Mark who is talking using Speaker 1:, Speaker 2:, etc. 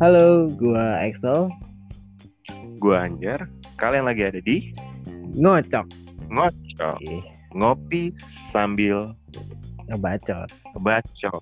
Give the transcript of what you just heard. Speaker 1: Halo, gua Axel.
Speaker 2: Gue Anjar. Kalian lagi ada di
Speaker 1: Ngocok.
Speaker 2: Ngocok.
Speaker 1: Ih,
Speaker 2: Ngopi sambil
Speaker 1: ngebacot.
Speaker 2: bacok.